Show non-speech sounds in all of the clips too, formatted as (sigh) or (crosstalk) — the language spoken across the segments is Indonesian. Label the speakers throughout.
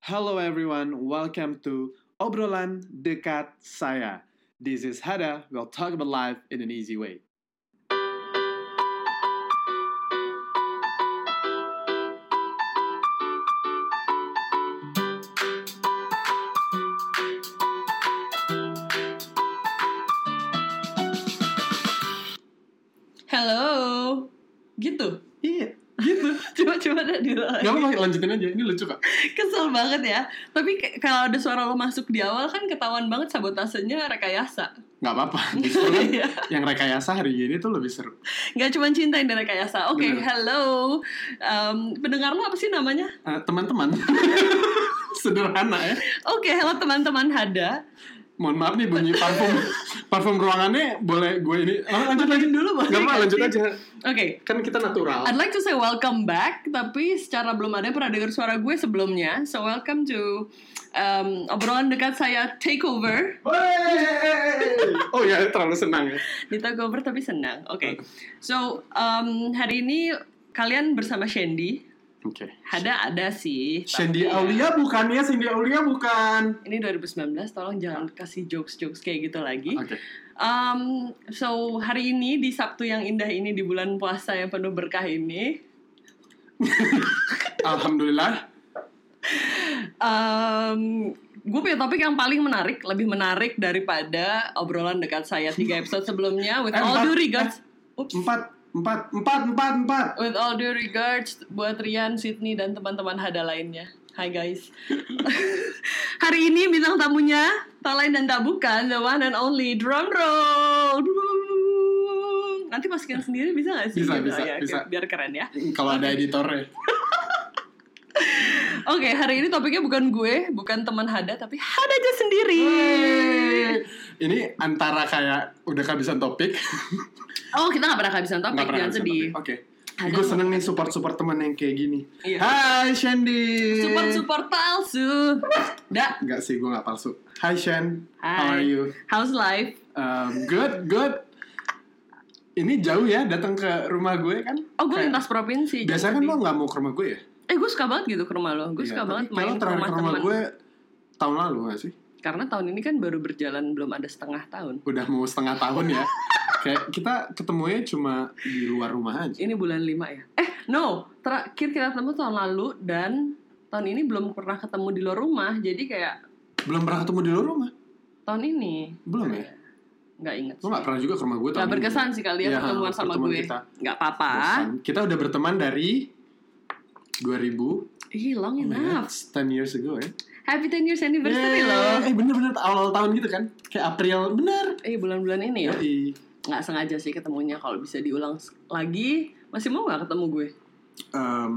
Speaker 1: Hello everyone, welcome to Obrolan Dekat Saya. This is Hada. We'll talk about life in an easy way.
Speaker 2: Hello. Gitu. (laughs)
Speaker 1: Iya, gitu.
Speaker 2: Coba coba ada di
Speaker 1: Gak apa-apa, lanjutin aja. Ini lucu kok.
Speaker 2: Kesel banget ya. Tapi ke- kalau ada suara lo masuk di awal kan ketahuan banget sabotasenya rekayasa.
Speaker 1: Gak apa-apa. Justru kan
Speaker 2: Iya.
Speaker 1: yang rekayasa hari ini tuh lebih seru.
Speaker 2: Gak cuma cinta yang ada rekayasa. Oke,
Speaker 1: Bener.
Speaker 2: hello. Em, pendengar lo apa sih namanya?
Speaker 1: Eh, teman-teman, (laughs) sederhana ya.
Speaker 2: Oke, hello teman-teman Hada.
Speaker 1: Mohon maaf nih bunyi parfum parfum ruangannya boleh gue ini. Oh, lanjut lanjut
Speaker 2: Dulu boleh
Speaker 1: Gak apa-apa,
Speaker 2: nggak
Speaker 1: lanjut
Speaker 2: sih?
Speaker 1: aja.
Speaker 2: Oke.
Speaker 1: Kan kita natural.
Speaker 2: I'd like to say welcome back, tapi secara belum ada yang pernah dengar suara gue sebelumnya. So welcome to em, obrolan dekat saya takeover.
Speaker 1: Wey! Oh ya, terlalu senang ya.
Speaker 2: di Tagover tapi senang. Oke. So, um, hari ini kalian bersama Shandy.
Speaker 1: Oke.
Speaker 2: Ada ada sih. tapi-
Speaker 1: Sandy Aulia bukan ya, Sandy Aulia bukan.
Speaker 2: Ini 2019, tolong jangan kasih jokes-jokes kayak gitu lagi.
Speaker 1: Oke.
Speaker 2: Um, so, hari ini di Sabtu yang indah ini, di bulan puasa yang penuh berkah ini,
Speaker 1: Alhamdulillah.
Speaker 2: um, gue punya topik yang paling menarik, lebih menarik daripada obrolan dekat saya tiga episode sebelumnya. With
Speaker 1: Eh,
Speaker 2: all
Speaker 1: empat.
Speaker 2: due regards, Ups.
Speaker 1: Empat, empat, empat, empat, empat.
Speaker 2: With all due regards buat Rian, Sydney, dan teman-teman hada lainnya. Hai (laughs) guys. Hari ini bintang tamunya tak lain dan tak bukan the one and only drum roll. Dung. Nanti masukin sendiri bisa gak sih?
Speaker 1: Bisa,
Speaker 2: Gitu.
Speaker 1: bisa,
Speaker 2: Ya, oke,
Speaker 1: bisa.
Speaker 2: Biar keren ya.
Speaker 1: Kalau ada ya. editornya.
Speaker 2: Oke, hari ini topiknya bukan gue, bukan teman hada, tapi hada aja sendiri.
Speaker 1: Ini antara kayak udah kehabisan topik.
Speaker 2: Oh, kita gak pernah kehabisan
Speaker 1: nggak
Speaker 2: topik,
Speaker 1: pernah
Speaker 2: jangan
Speaker 1: kehabisan
Speaker 2: sedih.
Speaker 1: topik. Oke.
Speaker 2: Ada-
Speaker 1: Gue seneng nih support-support teman yang kayak gini.
Speaker 2: Iya.
Speaker 1: Hai Shandy.
Speaker 2: Support-support palsu. Da,
Speaker 1: Enggak sih, gue gak palsu. Hai Shan. How
Speaker 2: Hai.
Speaker 1: are you?
Speaker 2: how's life?
Speaker 1: Um, good, good. Ini jauh ya datang ke rumah gue kan?
Speaker 2: Oh, gue
Speaker 1: Kayak-
Speaker 2: lintas provinsi. jangan
Speaker 1: Biasanya kan
Speaker 2: sedih.
Speaker 1: lo gak mau ke rumah gue ya?
Speaker 2: Eh gue suka banget gitu ke rumah lo Gue
Speaker 1: Iya,
Speaker 2: suka
Speaker 1: tapi
Speaker 2: banget
Speaker 1: kayak
Speaker 2: main
Speaker 1: lo
Speaker 2: ke
Speaker 1: terakhir
Speaker 2: rumah
Speaker 1: ke rumah
Speaker 2: temen
Speaker 1: gue tahun lalu gak sih?
Speaker 2: Karena tahun ini kan baru berjalan belum ada setengah tahun
Speaker 1: Udah mau setengah tahun ya. Kayak kita ketemunya cuma di luar rumah aja.
Speaker 2: Ini bulan 5 ya Eh no Terakhir kita ketemu tahun lalu Dan tahun ini belum pernah ketemu di luar rumah Jadi kayak
Speaker 1: Belum pernah ketemu di luar rumah?
Speaker 2: tahun ini
Speaker 1: Belum ya?
Speaker 2: Nggak inget
Speaker 1: Lo gak
Speaker 2: sih
Speaker 1: pernah juga ke rumah gue tahun
Speaker 2: Nggak
Speaker 1: ini.
Speaker 2: berkesan sih kali
Speaker 1: Iya,
Speaker 2: ya pertemuan sama
Speaker 1: pertemuan
Speaker 2: gue
Speaker 1: kita.
Speaker 2: Nggak apa-apa
Speaker 1: Bosan. Kita udah berteman dari 2000
Speaker 2: Ih long
Speaker 1: Oh my God,
Speaker 2: enough
Speaker 1: 10 years ago ya
Speaker 2: Happy 10 years Iya, anniversary
Speaker 1: Yeay.
Speaker 2: loh
Speaker 1: Eh bener-bener awal tahun gitu kan Kayak April Bener
Speaker 2: Eh bulan-bulan ini ya
Speaker 1: Yoi.
Speaker 2: Nggak sengaja sih ketemunya Kalau bisa diulang s- lagi Masih mau nggak ketemu gue?
Speaker 1: Em,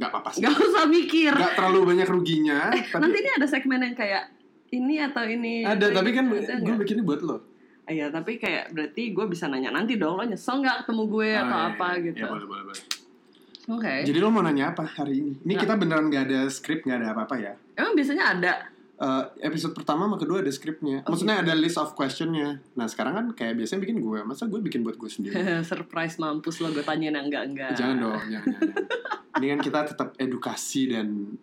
Speaker 1: Gak apa-apa sih (laughs)
Speaker 2: Nggak usah mikir
Speaker 1: Gak terlalu banyak ruginya tapi
Speaker 2: Nanti ini ada segmen yang kayak ini atau ini.
Speaker 1: ada
Speaker 2: atau
Speaker 1: tapi
Speaker 2: ini,
Speaker 1: kan gue
Speaker 2: ada nggak?
Speaker 1: bikinnya buat lo
Speaker 2: Ah, Iya, tapi kayak berarti gue bisa nanya nanti dong lo nyesel nggak ketemu gue
Speaker 1: Ah,
Speaker 2: atau
Speaker 1: iya,
Speaker 2: apa
Speaker 1: iya.
Speaker 2: gitu.
Speaker 1: ya boleh boleh boleh
Speaker 2: Oke.
Speaker 1: jadi lo mau nanya apa hari ini ini
Speaker 2: Nah.
Speaker 1: kita beneran gak ada skrip gak ada apa-apa ya
Speaker 2: Emang biasanya ada. (laughs)
Speaker 1: Eh, episode pertama sama kedua ada skripnya maksudnya ada list of questionnya nah sekarang kan kayak biasanya bikin gue masa gue bikin buat gue sendiri
Speaker 2: (laughs) Surprise mampus lo gue tanyain yang enggak enggak.
Speaker 1: jangan dong jangan jangan ini kan kita tetap edukasi dan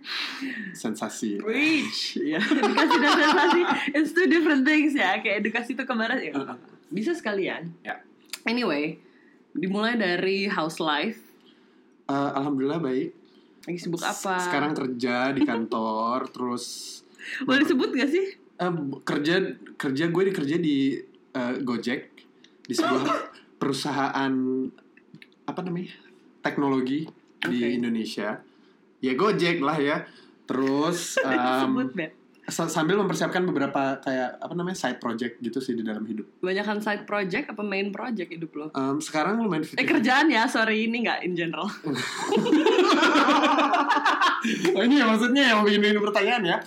Speaker 1: sensasi
Speaker 2: Preach. Ya, (laughs) edukasi dan sensasi it's two different things ya. Kayak edukasi itu kemarin ya. nggak apa-apa. Bisa sekalian.
Speaker 1: Uh-huh. Ya.
Speaker 2: Anyway, dimulai dari house life.
Speaker 1: Eh, alhamdulillah baik
Speaker 2: Lagi sibuk apa?
Speaker 1: sekarang kerja di kantor terus
Speaker 2: boleh disebut gak sih?
Speaker 1: Eh, b- kerja kerja gue dikerja di eh, Gojek di sebuah perusahaan apa namanya teknologi
Speaker 2: Oke.
Speaker 1: di Indonesia ya Gojek lah ya
Speaker 2: (laughs)
Speaker 1: terus em,
Speaker 2: disebut Beb.
Speaker 1: sa- sambil mempersiapkan beberapa kayak apa namanya side project gitu sih di dalam hidup
Speaker 2: Banyakan side project apa main project hidup lo?
Speaker 1: Em, sekarang lumayan
Speaker 2: Eh
Speaker 1: fitting
Speaker 2: kerjaan ya, sorry ini nggak in general.
Speaker 1: oh, ini ya maksudnya yang bikin bikin pertanyaan ya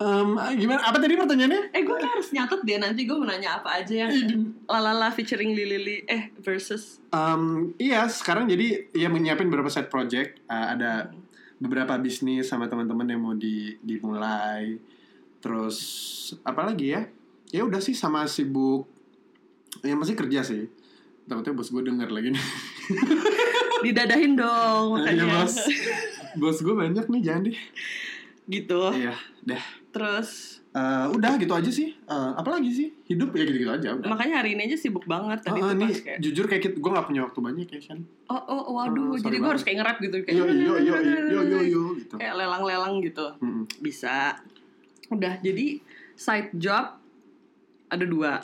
Speaker 1: Em, gimana apa tadi pertanyaannya
Speaker 2: Eh gue kayak harus nyatet deh nanti gue mau nanya apa aja yang lalala featuring Lili Lili eh versus.
Speaker 1: Em, iya, sekarang jadi ya menyiapin beberapa side project. Eh, ada beberapa bisnis sama teman-teman yang mau di, dimulai. Terus apa lagi ya? Ya udah sih sama sibuk. Ya masih kerja sih. Takutnya bos gue denger lagi nih.
Speaker 2: Didadahin dong
Speaker 1: (laughs) Iya,
Speaker 2: makanya.
Speaker 1: bos. Bos gue banyak nih, jangan deh.
Speaker 2: gitu.
Speaker 1: Iya, deh.
Speaker 2: Terus
Speaker 1: Eh, udah gitu aja sih. Eh, apalagi sih? Hidup ya gitu-gitu aja. Udah.
Speaker 2: makanya hari ini aja sibuk banget tadi
Speaker 1: Eh, eh,
Speaker 2: tuh
Speaker 1: nih,
Speaker 2: pas kayak
Speaker 1: jujur kayak kita, gue gak punya waktu banyak ya, Shan.
Speaker 2: oh oh waduh
Speaker 1: Oh, sorry
Speaker 2: jadi gue
Speaker 1: banget.
Speaker 2: harus kayak nge-rap gitu kayak
Speaker 1: Yo, yo, yo, yo, yo, yo, yo, gitu.
Speaker 2: kayak lelang-lelang gitu.
Speaker 1: Mm-mm.
Speaker 2: Bisa. Udah jadi side job ada dua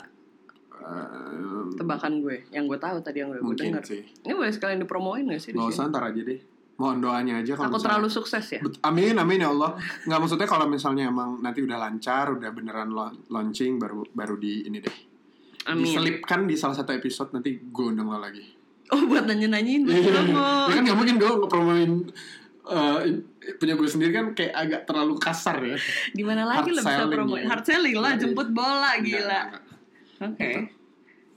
Speaker 1: Eh,
Speaker 2: tebakan gue yang gue tahu tadi yang gue gue
Speaker 1: mungkin
Speaker 2: denger.
Speaker 1: sih.
Speaker 2: Ini boleh sekalian dipromoin gak sih? di
Speaker 1: Gak
Speaker 2: sini?
Speaker 1: usah ntar aja deh. Mohon doanya aja kalau
Speaker 2: Aku
Speaker 1: misalnya-
Speaker 2: terlalu sukses ya.
Speaker 1: Bet- Amin amin ya Allah. Nggak maksudnya kalau misalnya emang nanti udah lancar, udah beneran lo- launching baru baru di ini deh.
Speaker 2: Amin.
Speaker 1: Diselipkan di salah satu episode nanti gue undang lo lagi.
Speaker 2: Oh buat nanya-nanyain
Speaker 1: (laughs)
Speaker 2: buat promo.
Speaker 1: ya kan nggak mungkin gue ngepromoin eh, punya gue sendiri kan kayak agak terlalu kasar ya.
Speaker 2: Di mana
Speaker 1: Hard
Speaker 2: lagi lo bisa
Speaker 1: selling
Speaker 2: promoin?
Speaker 1: ya.
Speaker 2: Hard selling lah,
Speaker 1: Iya,
Speaker 2: jemput bola gila.
Speaker 1: Nggak, nggak.
Speaker 2: Oke.
Speaker 1: Gitu.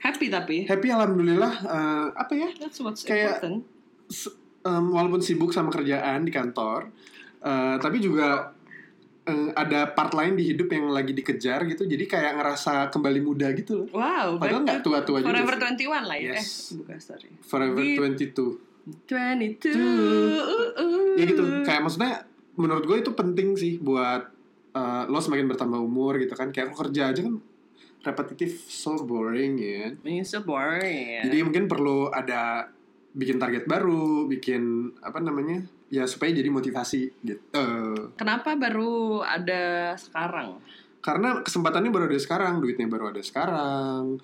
Speaker 2: Happy tapi.
Speaker 1: Happy alhamdulillah. eh, apa ya?
Speaker 2: That's what's
Speaker 1: Kayak-
Speaker 2: important.
Speaker 1: S- em, walaupun sibuk sama kerjaan di kantor, eh, tapi juga eh, ada part lain di hidup yang lagi dikejar gitu. Jadi kayak ngerasa kembali muda gitu loh.
Speaker 2: Wow,
Speaker 1: Padahal
Speaker 2: back
Speaker 1: nggak tua-tua
Speaker 2: to
Speaker 1: juga.
Speaker 2: Forever
Speaker 1: sih.
Speaker 2: 21 lah ya.
Speaker 1: Yes.
Speaker 2: Eh, bukan sorry.
Speaker 1: Forever
Speaker 2: Di-
Speaker 1: 22.
Speaker 2: 22.
Speaker 1: Tuh.
Speaker 2: uh, uh.
Speaker 1: Ya gitu. Kayak maksudnya menurut gue itu penting sih buat eh, lo semakin bertambah umur gitu kan. Kayak lo kerja aja kan repetitif so boring ya.
Speaker 2: It's so boring.
Speaker 1: Jadi mungkin perlu ada bikin target baru, bikin apa namanya? Ya supaya jadi motivasi gitu.
Speaker 2: Kenapa baru ada sekarang?
Speaker 1: Karena kesempatannya baru ada sekarang, duitnya baru ada sekarang.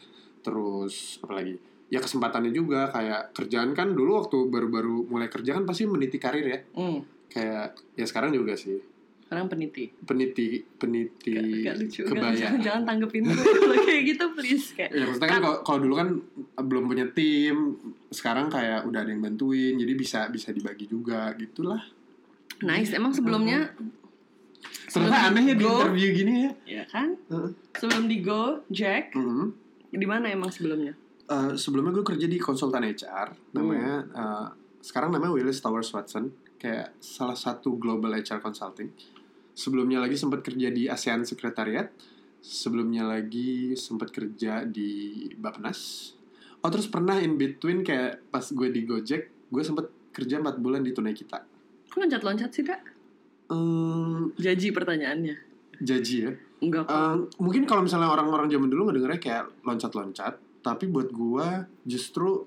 Speaker 1: Terus apalagi? Ya kesempatannya juga kayak kerjaan kan dulu waktu baru-baru mulai kerja kan pasti meniti karir ya.
Speaker 2: Hmm,
Speaker 1: kayak ya sekarang juga sih
Speaker 2: sekarang peniti.
Speaker 1: peniti peniti
Speaker 2: Gak, gak lucu. gak lucu.
Speaker 1: kebaya
Speaker 2: Jangan tanggepin gue (laughs) kalau kayak gitu please kayak.
Speaker 1: (laughs) ya maksudnya kan kalau- kalau dulu kan belum punya tim sekarang kayak udah ada yang bantuin jadi bisa bisa dibagi juga gitulah
Speaker 2: Nice. Emang sebelumnya
Speaker 1: ternyata aneh ya di
Speaker 2: Go.
Speaker 1: interview gini ya
Speaker 2: ya kan?
Speaker 1: Heeh.
Speaker 2: Sebelum di Go, Jack,
Speaker 1: Mm-mm.
Speaker 2: di mana emang sebelumnya?
Speaker 1: Eh, sebelumnya gue kerja di konsultan HR namanya eh, sekarang namanya Willis Towers Watson kayak salah satu global HR consulting sebelumnya lagi sempat kerja di ASEAN Secretariat sebelumnya lagi sempat kerja di Bappenas oh terus pernah in between kayak pas gue di Gojek gue sempat kerja 4 bulan di Tunai Kita
Speaker 2: Kok loncat-loncat sih, Kak?
Speaker 1: Ehm,
Speaker 2: Jaji pertanyaannya.
Speaker 1: jaji ya
Speaker 2: Enggak kok.
Speaker 1: Eh, mungkin kalau misalnya orang-orang zaman dulu ngedengernya kayak loncat-loncat, tapi buat gua justru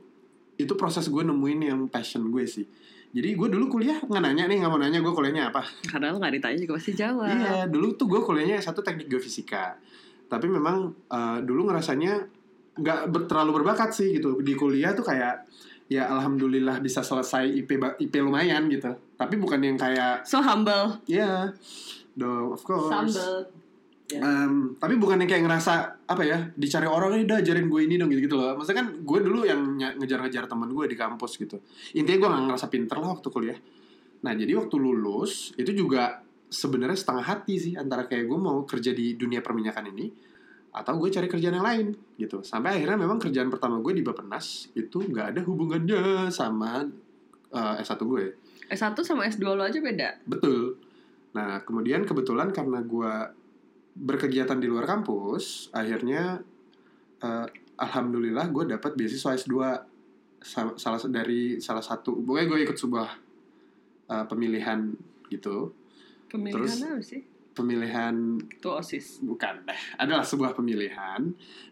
Speaker 1: itu proses gue nemuin yang passion gue sih. Jadi gue dulu kuliah nggak nanya nih nggak mau nanya gue kuliahnya apa.
Speaker 2: Karena lo gak ditanya juga pasti jawab.
Speaker 1: Iya dulu tuh gue kuliahnya satu teknik geofisika, tapi memang eh, dulu ngerasanya nggak ber- terlalu berbakat sih gitu di kuliah tuh kayak ya alhamdulillah bisa selesai IP ba- IP lumayan gitu. Tapi bukan yang kayak
Speaker 2: So humble.
Speaker 1: ya dong of course.
Speaker 2: Sambel. Ya.
Speaker 1: Em, tapi bukan yang kayak ngerasa apa ya dicari orang "Eh, udah ajarin gue ini dong gitu gitu loh maksudnya kan gue dulu yang ny- ngejar-ngejar teman gue di kampus gitu intinya gue gak ngerasa pinter lah waktu kuliah nah jadi waktu lulus itu juga sebenarnya setengah hati sih antara kayak gue mau kerja di dunia perminyakan ini atau gue cari kerjaan yang lain gitu sampai akhirnya memang kerjaan pertama gue di Bappenas itu nggak ada hubungannya sama eh, S1 gue
Speaker 2: S1 sama S2 lo aja beda.
Speaker 1: Betul. Nah, kemudian kebetulan karena gua berkegiatan di luar kampus, akhirnya eh, alhamdulillah gue dapat beasiswa S2 sa- salah dari salah satu. Pokoknya gue ikut sebuah eh, pemilihan gitu,
Speaker 2: Pemilihan
Speaker 1: Terus?
Speaker 2: apa sih?
Speaker 1: pemilihan
Speaker 2: Ketua OSIS.
Speaker 1: bukan deh, adalah sebuah pemilihan.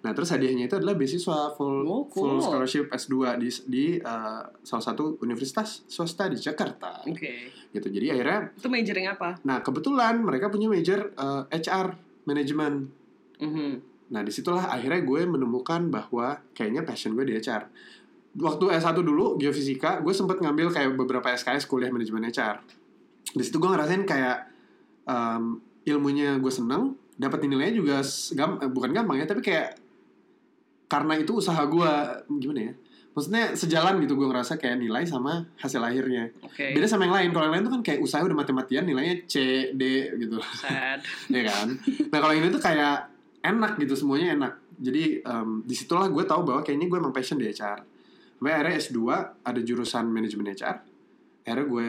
Speaker 1: Nah, terus hadiahnya itu adalah beasiswa full
Speaker 2: Oh,
Speaker 1: full
Speaker 2: cool.
Speaker 1: scholarship S2 di di eh, salah satu universitas swasta di Jakarta.
Speaker 2: Oke.
Speaker 1: Gitu. Jadi akhirnya
Speaker 2: Itu majoring apa?
Speaker 1: Nah, kebetulan mereka punya major eh, HR, manajemen.
Speaker 2: Mhm.
Speaker 1: Nah, disitulah akhirnya gue menemukan bahwa kayaknya passion gue di HR. Waktu S1 dulu, geofisika, gue sempet ngambil kayak beberapa SKS kuliah manajemen HR. Di situ gue ngerasain kayak em, ilmunya gue seneng, dapat nilainya juga s- gam- eh, bukan gampang ya, tapi kayak karena itu usaha gue, gimana ya, maksudnya sejalan gitu gue ngerasa kayak nilai sama hasil akhirnya.
Speaker 2: Oke.
Speaker 1: Beda sama yang lain, kalau yang lain tuh kan kayak usaha udah mati-matian nilainya C, D gitu
Speaker 2: Sad.
Speaker 1: ya kan nah kalau ini tuh kayak enak gitu semuanya enak jadi em, disitulah gue tahu bahwa kayaknya gue emang passion di HR sampai akhirnya S2 ada jurusan manajemen HR akhirnya gue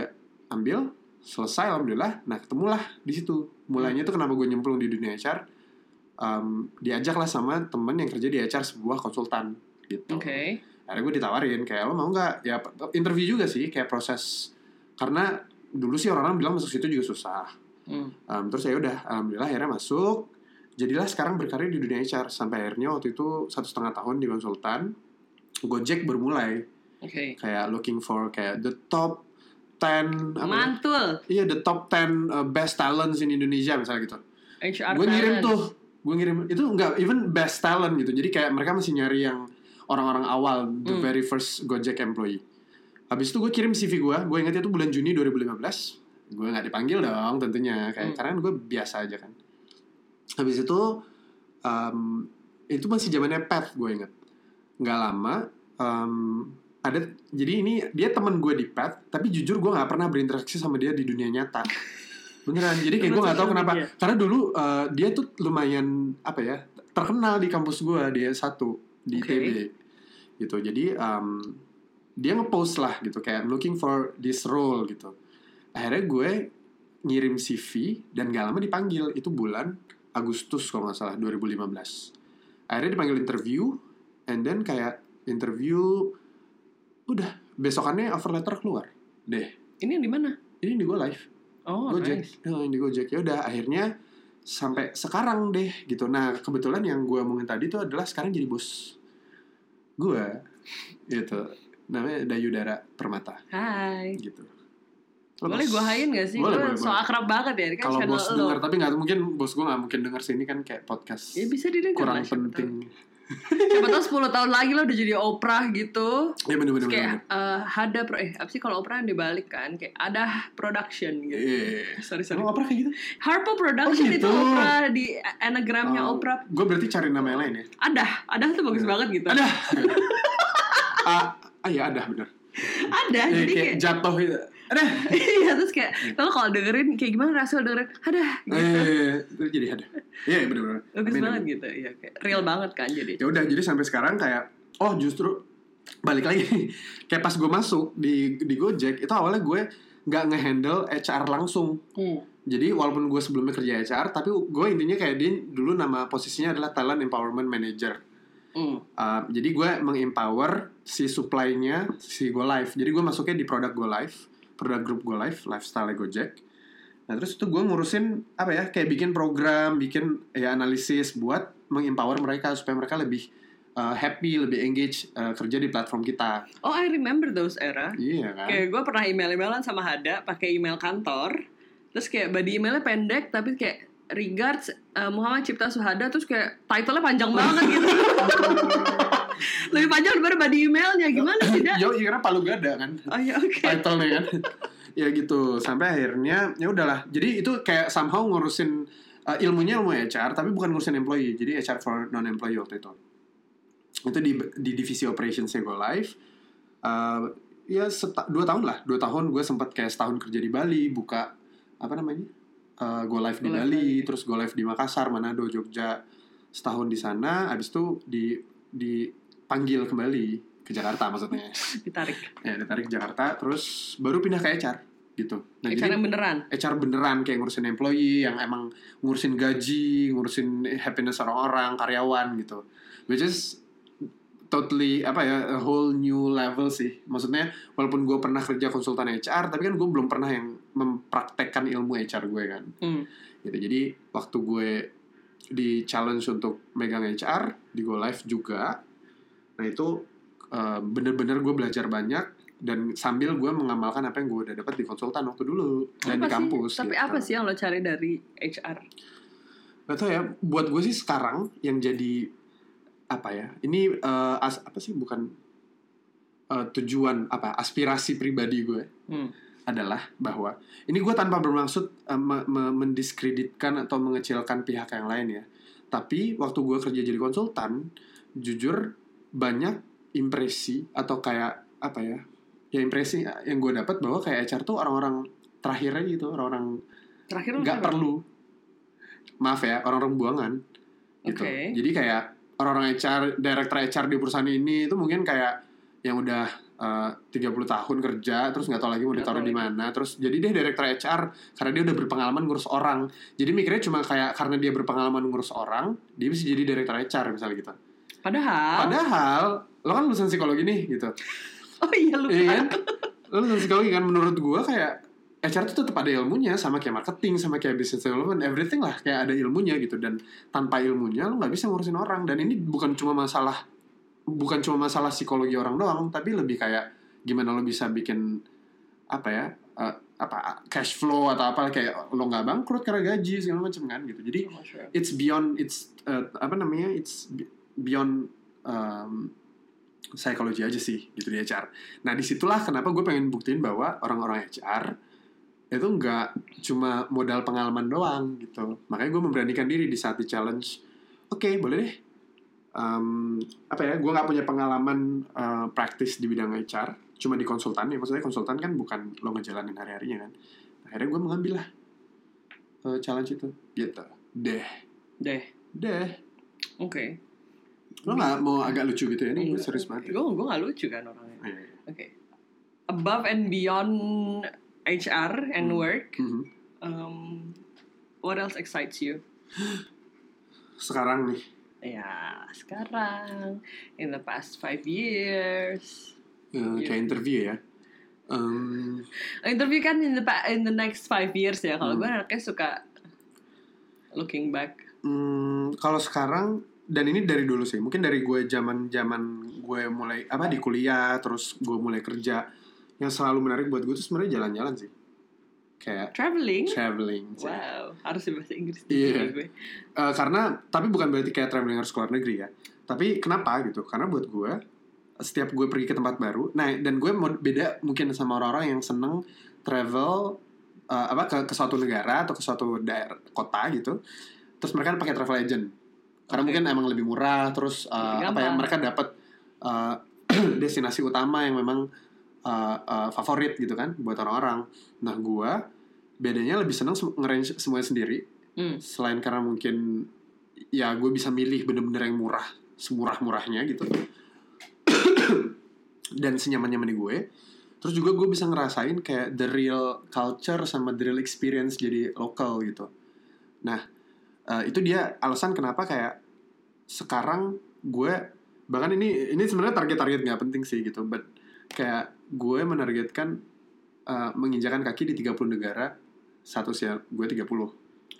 Speaker 1: ambil selesai alhamdulillah nah ketemulah di situ mulainya tuh kenapa gue nyemplung di dunia HR em, diajaklah sama temen yang kerja di HR sebuah konsultan gitu
Speaker 2: Oke.
Speaker 1: akhirnya gue ditawarin kayak lo mau nggak ya interview juga sih kayak proses karena dulu sih orang-orang bilang masuk situ juga susah
Speaker 2: Hmm.
Speaker 1: Em, terus ya udah alhamdulillah akhirnya masuk jadilah sekarang berkarir di dunia HR sampai akhirnya waktu itu satu setengah tahun di konsultan Gojek bermulai
Speaker 2: Oke.
Speaker 1: kayak looking for kayak the top 10 apa ya?
Speaker 2: Mantul.
Speaker 1: Iya the top 10 uh, best talents in Indonesia misalnya gitu.
Speaker 2: HR
Speaker 1: Gue ngirim
Speaker 2: talent.
Speaker 1: tuh, gue ngirim itu enggak even best talent gitu. Jadi kayak mereka masih nyari yang orang-orang awal the
Speaker 2: Hmm.
Speaker 1: very first Gojek employee. Habis itu gue kirim CV gue, gue ingetnya itu bulan Juni 2015. Gue nggak dipanggil dong tentunya, kayak
Speaker 2: Hmm.
Speaker 1: karena gue biasa aja kan. Habis itu um, itu masih zamannya Pat gue inget. Nggak lama um, ada jadi ini dia teman gue di Pat, tapi jujur gue nggak pernah berinteraksi sama dia di dunia nyata. Beneran, jadi kayak gue nggak tahu
Speaker 2: Teman
Speaker 1: kenapa.
Speaker 2: sosial media.
Speaker 1: Karena dulu uh, dia tuh lumayan apa ya terkenal di kampus gue dia satu di
Speaker 2: Oke.
Speaker 1: ITB gitu. Jadi um, dia ngepost lah gitu kayak "I'm looking for this role gitu. Akhirnya gue ngirim CV dan gak lama dipanggil itu bulan Agustus kalau nggak salah 2015. Akhirnya dipanggil interview and then kayak interview udah besokannya offer letter keluar deh.
Speaker 2: Ini yang di mana?
Speaker 1: Ini di gue live.
Speaker 2: Oh,
Speaker 1: Gojek,
Speaker 2: nice.
Speaker 1: Nah, yang di Gojek ya udah akhirnya sampai sekarang deh gitu. Nah kebetulan yang gue omongin tadi itu adalah sekarang jadi bos gue gitu. Namanya Dayudara Permata
Speaker 2: Hai.
Speaker 1: gitu. Lo
Speaker 2: Boleh
Speaker 1: bos.
Speaker 2: gue hain gak sih?
Speaker 1: Boleh,
Speaker 2: Gue
Speaker 1: boleh,
Speaker 2: so
Speaker 1: boleh.
Speaker 2: akrab banget ya, ini kan
Speaker 1: Kalau
Speaker 2: channel
Speaker 1: bos
Speaker 2: lo.
Speaker 1: denger tapi nggak mungkin bos gue nggak mungkin denger sih ini kan kayak podcast
Speaker 2: Ya bisa didengar
Speaker 1: kurang
Speaker 2: lah, siapa
Speaker 1: penting.
Speaker 2: tahu. Siapa tahu 10 tahun lagi lo udah jadi Oprah gitu.
Speaker 1: Ya
Speaker 2: Terus
Speaker 1: bener-bener.
Speaker 2: kayak
Speaker 1: bener-bener.
Speaker 2: eh, ada pro eh apa sih kalau Oprah yang dibalik kan kayak ada production
Speaker 1: Iya.
Speaker 2: gitu. Sorry sorry.
Speaker 1: Emang apa kayak gitu?
Speaker 2: Harpo Production
Speaker 1: Oh, gitu.
Speaker 2: itu Oprah di anagramnya
Speaker 1: Oh,
Speaker 2: Oprah.
Speaker 1: Gue berarti cari nama yang lain ya.
Speaker 2: Ada, ada tuh bagus
Speaker 1: Iya.
Speaker 2: banget gitu.
Speaker 1: Ada. (laughs) ah, ah ya ada bener.
Speaker 2: Ada,
Speaker 1: Ya,
Speaker 2: jadi
Speaker 1: kayak
Speaker 2: kayak
Speaker 1: jatuh gitu. Ada.
Speaker 2: (laughs) Iya terus kayak lo kalau dengerin kayak gimana rasanya lo dengerin ada gitu.
Speaker 1: Eh, itu jadi ada. Iya, iya, bener-bener.
Speaker 2: bagus
Speaker 1: Amin,
Speaker 2: banget
Speaker 1: amin.
Speaker 2: gitu iya kayak real banget kan jadi
Speaker 1: Ya udah, jadi sampai sekarang kayak, oh justru balik lagi. (laughs) kayak pas gue masuk di di Gojek itu awalnya gue nggak ngehandle HR langsung.
Speaker 2: Hmm.
Speaker 1: Jadi walaupun gue sebelumnya kerja HR, tapi gue intinya kayak dia dulu nama posisinya adalah Talent Empowerment Manager.
Speaker 2: Hmm.
Speaker 1: Uh, jadi gue mengempower si supply-nya si Go Live. Jadi gue masuknya di produk Go Live, produk grup Go Live, lifestyle Gojek. Nah terus itu gue ngurusin apa ya, kayak bikin program, bikin ya analisis buat mengempower mereka supaya mereka lebih uh, happy, lebih engage uh, kerja di platform kita.
Speaker 2: Oh I remember those era
Speaker 1: Iya kan?
Speaker 2: Kayak gue pernah email-emailan sama Hada pakai email kantor. Terus kayak body emailnya pendek tapi kayak regards uh, Muhammad Cipta Suhada terus kayak title-nya panjang banget
Speaker 1: (laughs)
Speaker 2: gitu. Lebih panjang daripada body emailnya gimana sih, Da?
Speaker 1: Yo, iya karena palu gada kan.
Speaker 2: Oh ya oke.
Speaker 1: title-nya kan. (laughs) ya gitu, sampai akhirnya ya udahlah. Jadi itu kayak somehow ngurusin uh, ilmunya ilmu HR tapi bukan ngurusin employee. Jadi HR for non employee waktu itu. Itu di di divisi operationsnya Go Live. Uh, ya seta- dua tahun lah, dua tahun gue sempat kayak setahun kerja di Bali, buka apa namanya uh, Go Live di
Speaker 2: Go Live
Speaker 1: Bali,
Speaker 2: Bali.
Speaker 1: terus Go Live di Makassar, Manado, Jogja, setahun di sana. Abis itu di dipanggil kembali ke Jakarta maksudnya
Speaker 2: Ditarik.
Speaker 1: ya ditarik ke Jakarta terus baru pindah ke HR gitu nah jadi
Speaker 2: Cara beneran.
Speaker 1: HR beneran kayak ngurusin employee yang emang ngurusin gaji ngurusin happiness orang-orang karyawan gitu which is totally apa ya a whole new level sih maksudnya walaupun gue pernah kerja konsultan HR tapi kan gue belum pernah yang mempraktekkan ilmu HR gue kan
Speaker 2: Hmm.
Speaker 1: gitu jadi waktu gue di challenge untuk megang HR di Go Live juga nah itu eh, bener-bener gue belajar banyak dan sambil gue mengamalkan apa yang gue udah dapat di konsultan waktu dulu dan di
Speaker 2: Apa sih-
Speaker 1: kampus
Speaker 2: Tapi
Speaker 1: gitu.
Speaker 2: apa sih yang lo cari dari HR?
Speaker 1: Gak tau ya buat gue sih sekarang yang jadi apa ya ini eh, as- apa sih bukan eh, tujuan apa aspirasi pribadi gue
Speaker 2: Hmm.
Speaker 1: adalah bahwa ini gue tanpa bermaksud eh, me- me- mendiskreditkan atau mengecilkan pihak yang lain ya tapi waktu gue kerja jadi konsultan jujur banyak impresi atau kayak apa ya ya impresi yang gue dapat bahwa kayak HR tuh orang-orang terakhirnya gitu orang-orang
Speaker 2: Terakhir lo
Speaker 1: nggak
Speaker 2: siapa?
Speaker 1: perlu maaf ya orang-orang buangan gitu
Speaker 2: Oke.
Speaker 1: jadi kayak orang-orang HR director HR di perusahaan ini itu mungkin kayak yang udah eh, 30 tahun kerja terus nggak tahu lagi mau
Speaker 2: Nggak
Speaker 1: ditaruh
Speaker 2: tahu
Speaker 1: di
Speaker 2: lagi.
Speaker 1: mana terus jadi dia director HR karena dia udah berpengalaman ngurus orang jadi mikirnya cuma kayak karena dia berpengalaman ngurus orang dia bisa jadi director HR misalnya gitu
Speaker 2: Padahal.
Speaker 1: padahal lo kan lulusan psikologi nih gitu
Speaker 2: (laughs) Oh iya lupa.
Speaker 1: Iya kan? Lo lulusan psikologi kan menurut gue kan, kayak HR tuh tetap ada ilmunya sama kayak marketing sama kayak business development everything lah kayak ada ilmunya gitu dan tanpa ilmunya lo nggak bisa ngurusin orang dan ini bukan cuma masalah bukan cuma masalah psikologi orang doang tapi lebih kayak gimana lo bisa bikin apa ya eh, apa cash flow atau apa kayak lo nggak bangkrut karena gaji segala macam kan gitu jadi it's beyond it's uh, apa namanya it's be- beyond um, psychology aja sih gitu di HR. Nah disitulah kenapa gue pengen buktiin bahwa orang-orang HR itu nggak cuma modal pengalaman doang gitu. Makanya gue memberanikan diri di saat di challenge. Oke boleh deh. Um, apa ya? Gue nggak punya pengalaman uh, praktis di bidang HR, cuma di konsultan ya. Maksudnya konsultan kan bukan lo ngejalanin hari-harinya kan. Akhirnya gue mengambil lah uh, challenge itu gitu deh
Speaker 2: Deh,
Speaker 1: deh
Speaker 2: oke.
Speaker 1: lo nggak mau agak lucu gitu ya ini gue
Speaker 2: Iya.
Speaker 1: serius banget ya.
Speaker 2: Gue gue nggak lucu kan orangnya.
Speaker 1: Iya, iya.
Speaker 2: Oke. Above and beyond HR and
Speaker 1: Hmm.
Speaker 2: work,
Speaker 1: Mhm.
Speaker 2: um, what else excites you?
Speaker 1: sekarang nih
Speaker 2: Ya sekarang, in the past five years.
Speaker 1: eh, kayak interview ya Em,
Speaker 2: Interview kan in the pa- in the next five years ya. Kalau
Speaker 1: Hmm.
Speaker 2: gue anaknya suka looking back.
Speaker 1: mm, kalau sekarang dan ini dari dulu sih mungkin dari gue zaman zaman gue mulai apa di kuliah terus gue mulai kerja yang selalu menarik buat gue tuh sebenarnya jalan-jalan sih kayak
Speaker 2: Traveling.
Speaker 1: traveling sih.
Speaker 2: Wow, harus bahasa Inggris
Speaker 1: Iya.
Speaker 2: gue.
Speaker 1: Eh, karena tapi bukan berarti kayak traveling harus keluar negeri ya tapi kenapa gitu karena buat gue setiap gue pergi ke tempat baru nah dan gue mau beda mungkin sama orang-orang yang seneng travel eh, apa ke, ke suatu negara atau ke suatu daerah kota gitu terus mereka pakai travel agent karena
Speaker 2: Oke.
Speaker 1: mungkin emang lebih murah terus eh,
Speaker 2: Lebih
Speaker 1: apa ya
Speaker 2: gampang.
Speaker 1: mereka dapat eh, (clears throat) destinasi utama yang memang eh, eh, favorit gitu kan buat orang-orang nah gue bedanya lebih seneng se- ngerange semuanya sendiri
Speaker 2: Hmm.
Speaker 1: selain karena mungkin ya gue bisa milih bener-bener yang murah semurah-murahnya gitu (coughs) dan senyaman-nyamannya gue terus juga gue bisa ngerasain kayak the real culture sama the real experience jadi lokal gitu nah eh, itu dia alasan kenapa kayak sekarang gue bahkan ini ini sebenarnya target-target nggak penting sih gitu but kayak gue menargetkan eh, menginjakan kaki di 30 negara satu usia gue 30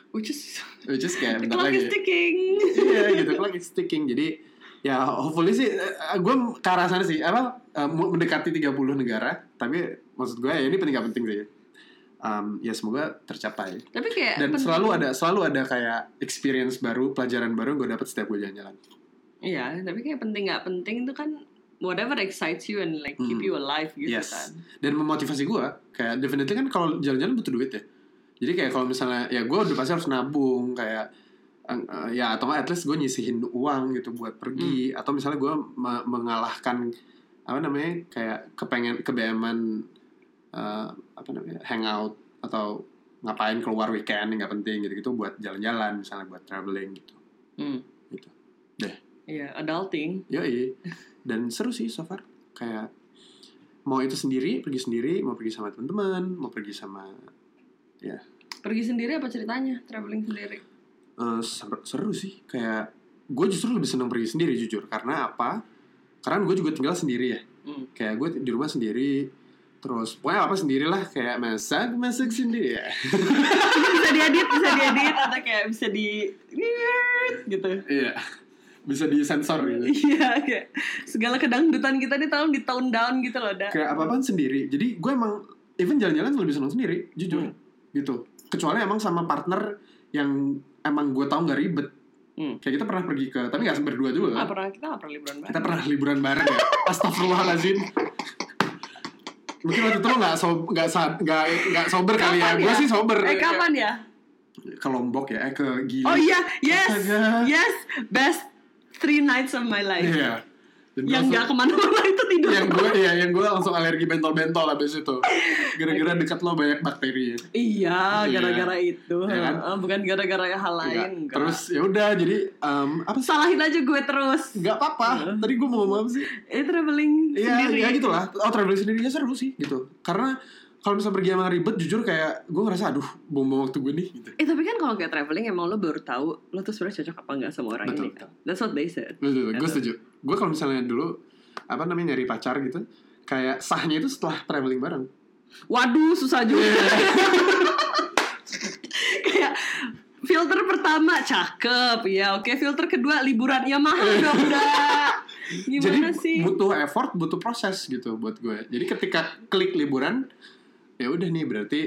Speaker 2: Which is
Speaker 1: Which is kayak
Speaker 2: the
Speaker 1: bentar
Speaker 2: clock
Speaker 1: lagi.
Speaker 2: is ticking.
Speaker 1: Iya gitu, clock is ticking. Jadi ya hopefully sih gue ke arah sana sih. Apa eh, mau mendekati 30 negara, tapi maksud gue ya ini penting gak penting sih. Um, ya semoga tercapai.
Speaker 2: Tapi kayak
Speaker 1: Dan
Speaker 2: penting.
Speaker 1: selalu ada selalu ada kayak experience baru, pelajaran baru yang gue dapat setiap gue jalan-jalan.
Speaker 2: Iya, tapi kayak penting nggak penting itu kan whatever excites you and like keep
Speaker 1: Mm.
Speaker 2: you alive gitu
Speaker 1: Yes.
Speaker 2: kan.
Speaker 1: Dan memotivasi gue kayak definitely kan kalau jalan-jalan butuh duit ya. Jadi kayak kalau misalnya ya gue udah pasti harus nabung kayak eh, eh, ya atau nggak at least gue nyisihin uang gitu buat pergi atau misalnya gue me- mengalahkan apa namanya kayak kepengen kebeaman eh, apa namanya hangout atau ngapain keluar weekend yang nggak penting gitu gitu buat jalan-jalan misalnya buat traveling gitu
Speaker 2: Hmm.
Speaker 1: Gitu. Deh.
Speaker 2: Iya, adulting.
Speaker 1: Yoi. Dan seru sih so far. Kayak mau itu sendiri, pergi sendiri, mau pergi sama teman-teman, mau pergi sama
Speaker 2: Pergi sendiri apa ceritanya? Traveling sendiri.
Speaker 1: eh, seru, seru sih. Kayak gue justru lebih seneng pergi sendiri jujur. Karena apa? Karena gue juga tinggal sendiri ya.
Speaker 2: Hmm.
Speaker 1: Kayak gue di rumah sendiri. Terus pokoknya apa sendirilah kayak masak masak sendiri ya.
Speaker 2: bisa diedit, bisa diedit atau kayak bisa di gitu.
Speaker 1: Iya. Bisa disensor gitu.
Speaker 2: Iya, kayak segala kedangdutan kita nih tolong di tone down gitu loh, Da.
Speaker 1: Kayak apa-apaan sendiri. Jadi gue emang even jalan-jalan lebih seneng sendiri jujur. Gitu. Kecuali emang sama partner yang emang gue tau nggak ribet
Speaker 2: Hmm.
Speaker 1: Kayak kita pernah pergi ke, tapi gak berdua juga
Speaker 2: Nggak
Speaker 1: kan?
Speaker 2: pernah kita nggak pernah liburan bareng.
Speaker 1: Kita pernah liburan bareng ya. Astagfirullahaladzim. Mungkin waktu itu lo gak, so, gak, sa- gak, gak sober kali ya.
Speaker 2: Kapan
Speaker 1: Gue
Speaker 2: ya?
Speaker 1: sih sober.
Speaker 2: Eh kapan ya?
Speaker 1: Ke Lombok ya, eh ke Gili.
Speaker 2: Oh iya, yes,
Speaker 1: Astaga.
Speaker 2: yes, best three nights of my life.
Speaker 1: ya? Iya. Dan gua
Speaker 2: Yang nggak
Speaker 1: langsung-
Speaker 2: kemana-mana itu tidur.
Speaker 1: yang gue ya yang gue langsung alergi bentol-bentol abis itu gara-gara dekat lo banyak bakteri ya.
Speaker 2: Iya,
Speaker 1: Iya.
Speaker 2: gara-gara itu.
Speaker 1: Iya kan?
Speaker 2: Heeh, Bukan gara-gara hal lain.
Speaker 1: Enggak.
Speaker 2: enggak.
Speaker 1: terus ya udah jadi em, apa sih
Speaker 2: salahin aja gue terus.
Speaker 1: nggak apa-apa tadi gue mau ngomong apa sih
Speaker 2: Eh traveling
Speaker 1: Iya,
Speaker 2: sendiri.
Speaker 1: ya gitu lah. Oh, traveling sendirinya seru sih gitu. Karena kalau misalnya pergi sama ribet, jujur kayak gue ngerasa aduh, bom waktu gue nih gitu.
Speaker 2: Eh tapi kan kalau nggak traveling emang lo baru tahu lo tuh sebenarnya cocok apa nggak sama orang
Speaker 1: Betul,
Speaker 2: ini kan. That's what they said.
Speaker 1: Betul, gue setuju. Gue gitu, kalau misalnya dulu apa namanya nyari pacar gitu, kayak sahnya itu setelah traveling bareng.
Speaker 2: Waduh, susah juga. (laughs) Kayak filter pertama cakep, ya oke. Filter kedua liburannya
Speaker 1: (laughs)
Speaker 2: mahal dong, Dak. Gimana
Speaker 1: Jadi
Speaker 2: sih?
Speaker 1: butuh effort, butuh proses gitu buat gue. Jadi ketika klik liburan, ya udah nih berarti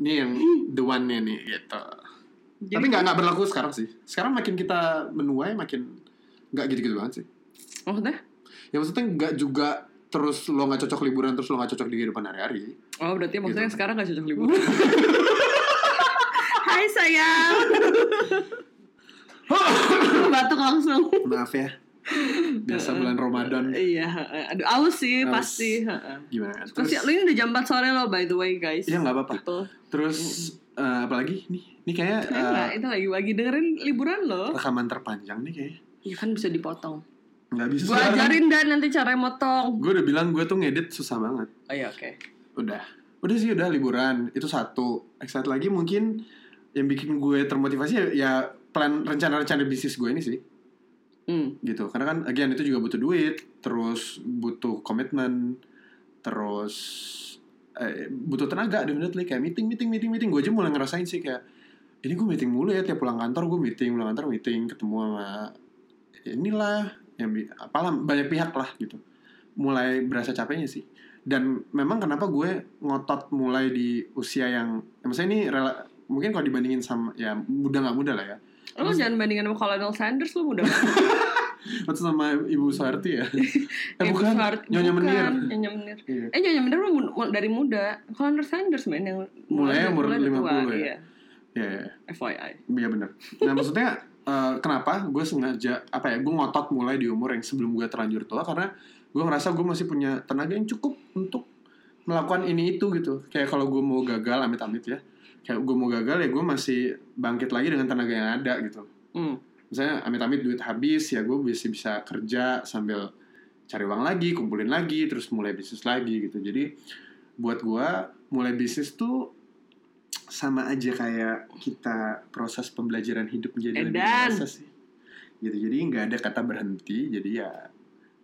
Speaker 1: ini yang the one nya nih gitu. Tapi
Speaker 2: Jadi
Speaker 1: nggak nggak berlaku sekarang sih. Sekarang makin kita menuai makin nggak gitu-gitu banget sih.
Speaker 2: maksudnya?
Speaker 1: Ya maksudnya nggak juga terus lo nggak cocok liburan terus lo nggak cocok di kehidupan hari-hari.
Speaker 2: Oh, berarti maksudnya
Speaker 1: Gitu.
Speaker 2: sekarang gak cocok
Speaker 1: (laughs)
Speaker 2: liburan. Hai sayang. Batuk langsung.
Speaker 1: Maaf ya. Biasa
Speaker 2: Heeh.
Speaker 1: bulan Ramadan
Speaker 2: Iya, heeh. aduh aus sih
Speaker 1: Aus.
Speaker 2: pasti. heeh.
Speaker 1: gimana?
Speaker 2: Terus
Speaker 1: Terus
Speaker 2: ya, ini udah jam 4 sore loh by the way guys. Gitu.
Speaker 1: Iya, nggak apa-apa.
Speaker 2: People.
Speaker 1: terus eh, apalagi nih? Ini kayak eh,
Speaker 2: Keren nggak? itu lagi lagi dengerin liburan loh.
Speaker 1: rekaman terpanjang nih kayaknya.
Speaker 2: Iya kan bisa dipotong.
Speaker 1: Nggak bisa.
Speaker 2: Gua ajarin dan nanti cara motong.
Speaker 1: Gue udah bilang gue tuh ngedit susah banget.
Speaker 2: Oh iya oke.
Speaker 1: Udah. Udah sih udah liburan. Itu satu. Excited lagi mungkin yang bikin gue termotivasi ya, ya plan rencana-rencana bisnis gue ini sih
Speaker 2: Hmm.
Speaker 1: gitu. Karena kan again itu juga butuh duit, terus butuh komitmen, terus eh, butuh tenaga definitely kayak meeting meeting meeting meeting gue aja mulai ngerasain sih kayak ini gue meeting mulu ya tiap pulang kantor gue meeting pulang kantor meeting ketemu sama inilah yang bi- apalah banyak pihak lah gitu mulai berasa capeknya sih dan memang kenapa gue ngotot mulai di usia yang ya maksudnya ini rela- mungkin kalau dibandingin sama ya muda nggak muda lah ya
Speaker 2: Lo jangan bandingin sama Colonel Sanders lo
Speaker 1: (laughs)
Speaker 2: udah.
Speaker 1: atau sama ibu Suharti ya eh,
Speaker 2: (laughs) Ibu
Speaker 1: bukan
Speaker 2: Soehart-
Speaker 1: nyonya
Speaker 2: bukan,
Speaker 1: menir
Speaker 2: Nyonya Menir.
Speaker 1: Iya.
Speaker 2: Eh Nyonya Menir mah mu- mu- dari muda. Colonel Sanders men yang
Speaker 1: Mulai umur
Speaker 2: mulai udah tua,
Speaker 1: 50 ya.
Speaker 2: Iya.
Speaker 1: ya ya, ya.
Speaker 2: FYI.
Speaker 1: Iya benar. Nah maksudnya eh, kenapa gue sengaja apa ya gue ngotot mulai di umur yang sebelum gue terlanjur tua karena gue ngerasa gue masih punya tenaga yang cukup untuk melakukan ini itu gitu. Kayak kalau gue mau gagal amit-amit ya, kayak gue mau gagal ya gue masih bangkit lagi dengan tenaga yang ada gitu.
Speaker 2: Hmm.
Speaker 1: Misalnya amit-amit duit habis ya gue bisa bisa kerja sambil cari uang lagi, kumpulin lagi, terus mulai bisnis lagi gitu. Jadi buat gue mulai bisnis tuh sama aja kayak kita proses pembelajaran hidup menjadi lebih
Speaker 2: Edan.
Speaker 1: dewasa sih. Gitu, jadi nggak ada kata berhenti. Jadi ya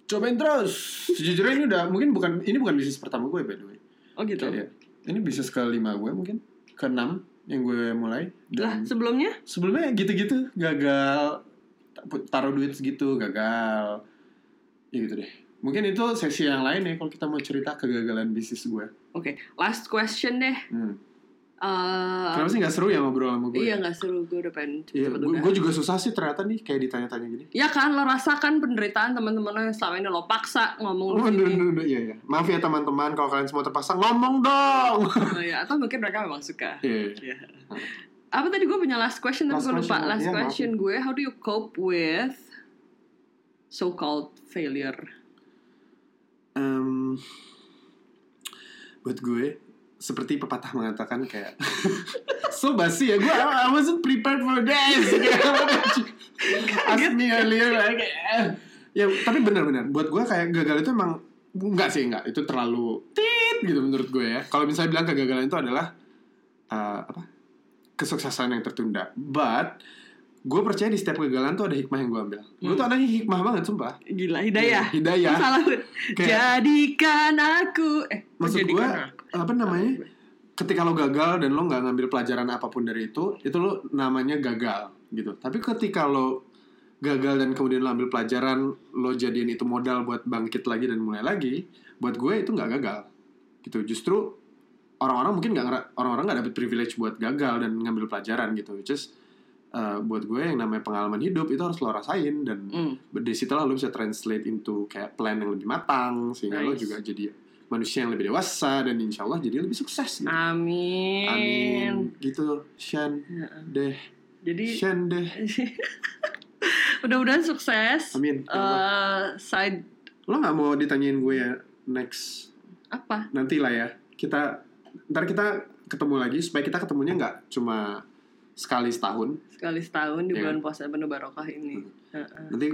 Speaker 1: cobain terus. Sejujurnya ini udah mungkin bukan ini bukan bisnis pertama gue by the way.
Speaker 2: Oh gitu.
Speaker 1: Kayak, ini bisnis kelima gue mungkin keenam yang gue mulai
Speaker 2: Lah
Speaker 1: dan
Speaker 2: sebelumnya?
Speaker 1: sebelumnya gitu-gitu gagal taruh duit segitu gagal ya gitu deh mungkin itu sesi yang lain ya kalau kita mau cerita kegagalan bisnis gue
Speaker 2: Oke, last question deh.
Speaker 1: hmm.
Speaker 2: Eh,
Speaker 1: kenapa sih nggak seru ya ngobrol sama gue
Speaker 2: iya nggak seru gue udah pengen
Speaker 1: Iya,
Speaker 2: cepet-cepet
Speaker 1: gue
Speaker 2: udah.
Speaker 1: gue juga susah sih ternyata nih kayak ditanya-tanya gini.
Speaker 2: Ya kan lo rasakan penderitaan teman-teman lo yang selama ini lo paksa
Speaker 1: Oh,
Speaker 2: ngomong di
Speaker 1: aduh,
Speaker 2: sini.
Speaker 1: aduh, aduh, iya, iya. Maaf ya teman-teman kalau kalian semua terpaksa ngomong dong.
Speaker 2: Oh, ya. Atau mungkin mereka memang suka.
Speaker 1: Iya.
Speaker 2: Ya. Apa tadi gue punya last question tapi
Speaker 1: Last
Speaker 2: gue lupa.
Speaker 1: question,
Speaker 2: Last
Speaker 1: iya, maaf.
Speaker 2: question gue, how do you cope with so-called failure?
Speaker 1: Em, buat gue seperti pepatah mengatakan kayak (laughs) so basi ya gue I I wasn't prepared for this ask me earlier like, eh. ya tapi benar-benar buat gue kayak gagal itu emang enggak sih enggak itu terlalu tit gitu menurut gue ya kalau misalnya bilang kegagalan itu adalah eh, apa kesuksesan yang tertunda but gue percaya di setiap kegagalan tuh ada hikmah yang gue ambil gue tuh anaknya hikmah banget sumpah
Speaker 2: Gila, hidayah.
Speaker 1: hidayah
Speaker 2: Salah. Bud.
Speaker 1: Iya, Kayak-
Speaker 2: Jadikan aku. Eh, kok
Speaker 1: Maksud
Speaker 2: jadikan
Speaker 1: gue,
Speaker 2: aku?
Speaker 1: apa namanya? ketika lo gagal dan lo nggak ngambil pelajaran apapun dari itu itu lo namanya gagal gitu tapi ketika lo gagal dan kemudian lo ambil pelajaran lo jadiin itu modal buat bangkit lagi dan mulai lagi buat gue itu nggak gagal gitu justru orang-orang mungkin nggak ngera- orang-orang nggak dapet privilege buat gagal dan ngambil pelajaran gitu which is uh, buat gue yang namanya pengalaman hidup itu harus lo rasain dan
Speaker 2: Hmm.
Speaker 1: dari situlah lo bisa translate into kayak plan yang lebih matang sehingga lo
Speaker 2: Nice.
Speaker 1: juga jadi manusia yang lebih dewasa dan insya Allah jadi lebih sukses gitu.
Speaker 2: Amin.
Speaker 1: Amin. Gitu, Shan deh,
Speaker 2: Jadi
Speaker 1: Shan deh.
Speaker 2: (laughs) mudah-mudahan sukses.
Speaker 1: Amin. Ya Allah.
Speaker 2: Eh, side
Speaker 1: Lo nggak mau ditanyain gue ya next
Speaker 2: apa?
Speaker 1: nanti lah ya. Kita ntar kita ketemu lagi supaya kita ketemunya nggak cuma sekali setahun.
Speaker 2: Sekali setahun di
Speaker 1: Iya. Hmm.
Speaker 2: bulan puasa penuh barokah ini. Heeh.
Speaker 1: Nanti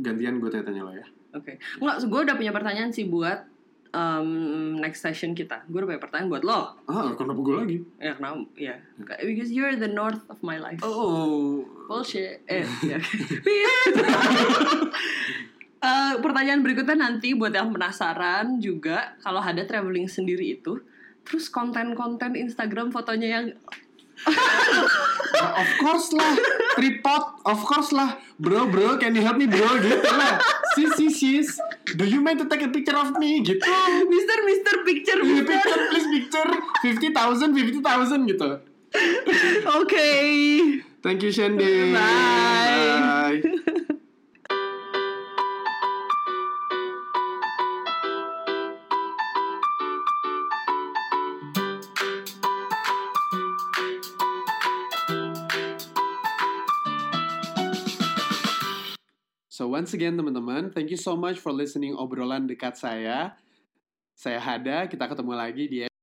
Speaker 1: gantian gue tanya-tanya lo ya.
Speaker 2: Oke. Enggak, gue udah punya pertanyaan sih buat em, next session kita. Gue udah punya pertanyaan buat lo.
Speaker 1: Ah, kenapa gue lagi?
Speaker 2: Ya kenapa? Ya. Because you're the north of my life.
Speaker 1: Hmm. Oh,
Speaker 2: Bullshit. Eh, ya, (laughs) oke. Eh, pertanyaan berikutnya nanti buat yang penasaran juga kalau ada traveling sendiri itu Terus konten-konten Instagram fotonya yang (laughs)
Speaker 1: Nah, of course lah, tripod, of course lah, bro bro, can you help me bro gitu lah. Sis sis sis, do you mind to take a picture of me gitu?
Speaker 2: Mister Mister Picture
Speaker 1: Please
Speaker 2: Mister.
Speaker 1: picture, please picture, fifty thousand, fifty thousand gitu.
Speaker 2: Oke.
Speaker 1: Thank you Shandy.
Speaker 2: Bye.
Speaker 1: Bye. So once again teman-teman, thank you so much for listening obrolan dekat saya. Saya Hada, kita ketemu lagi di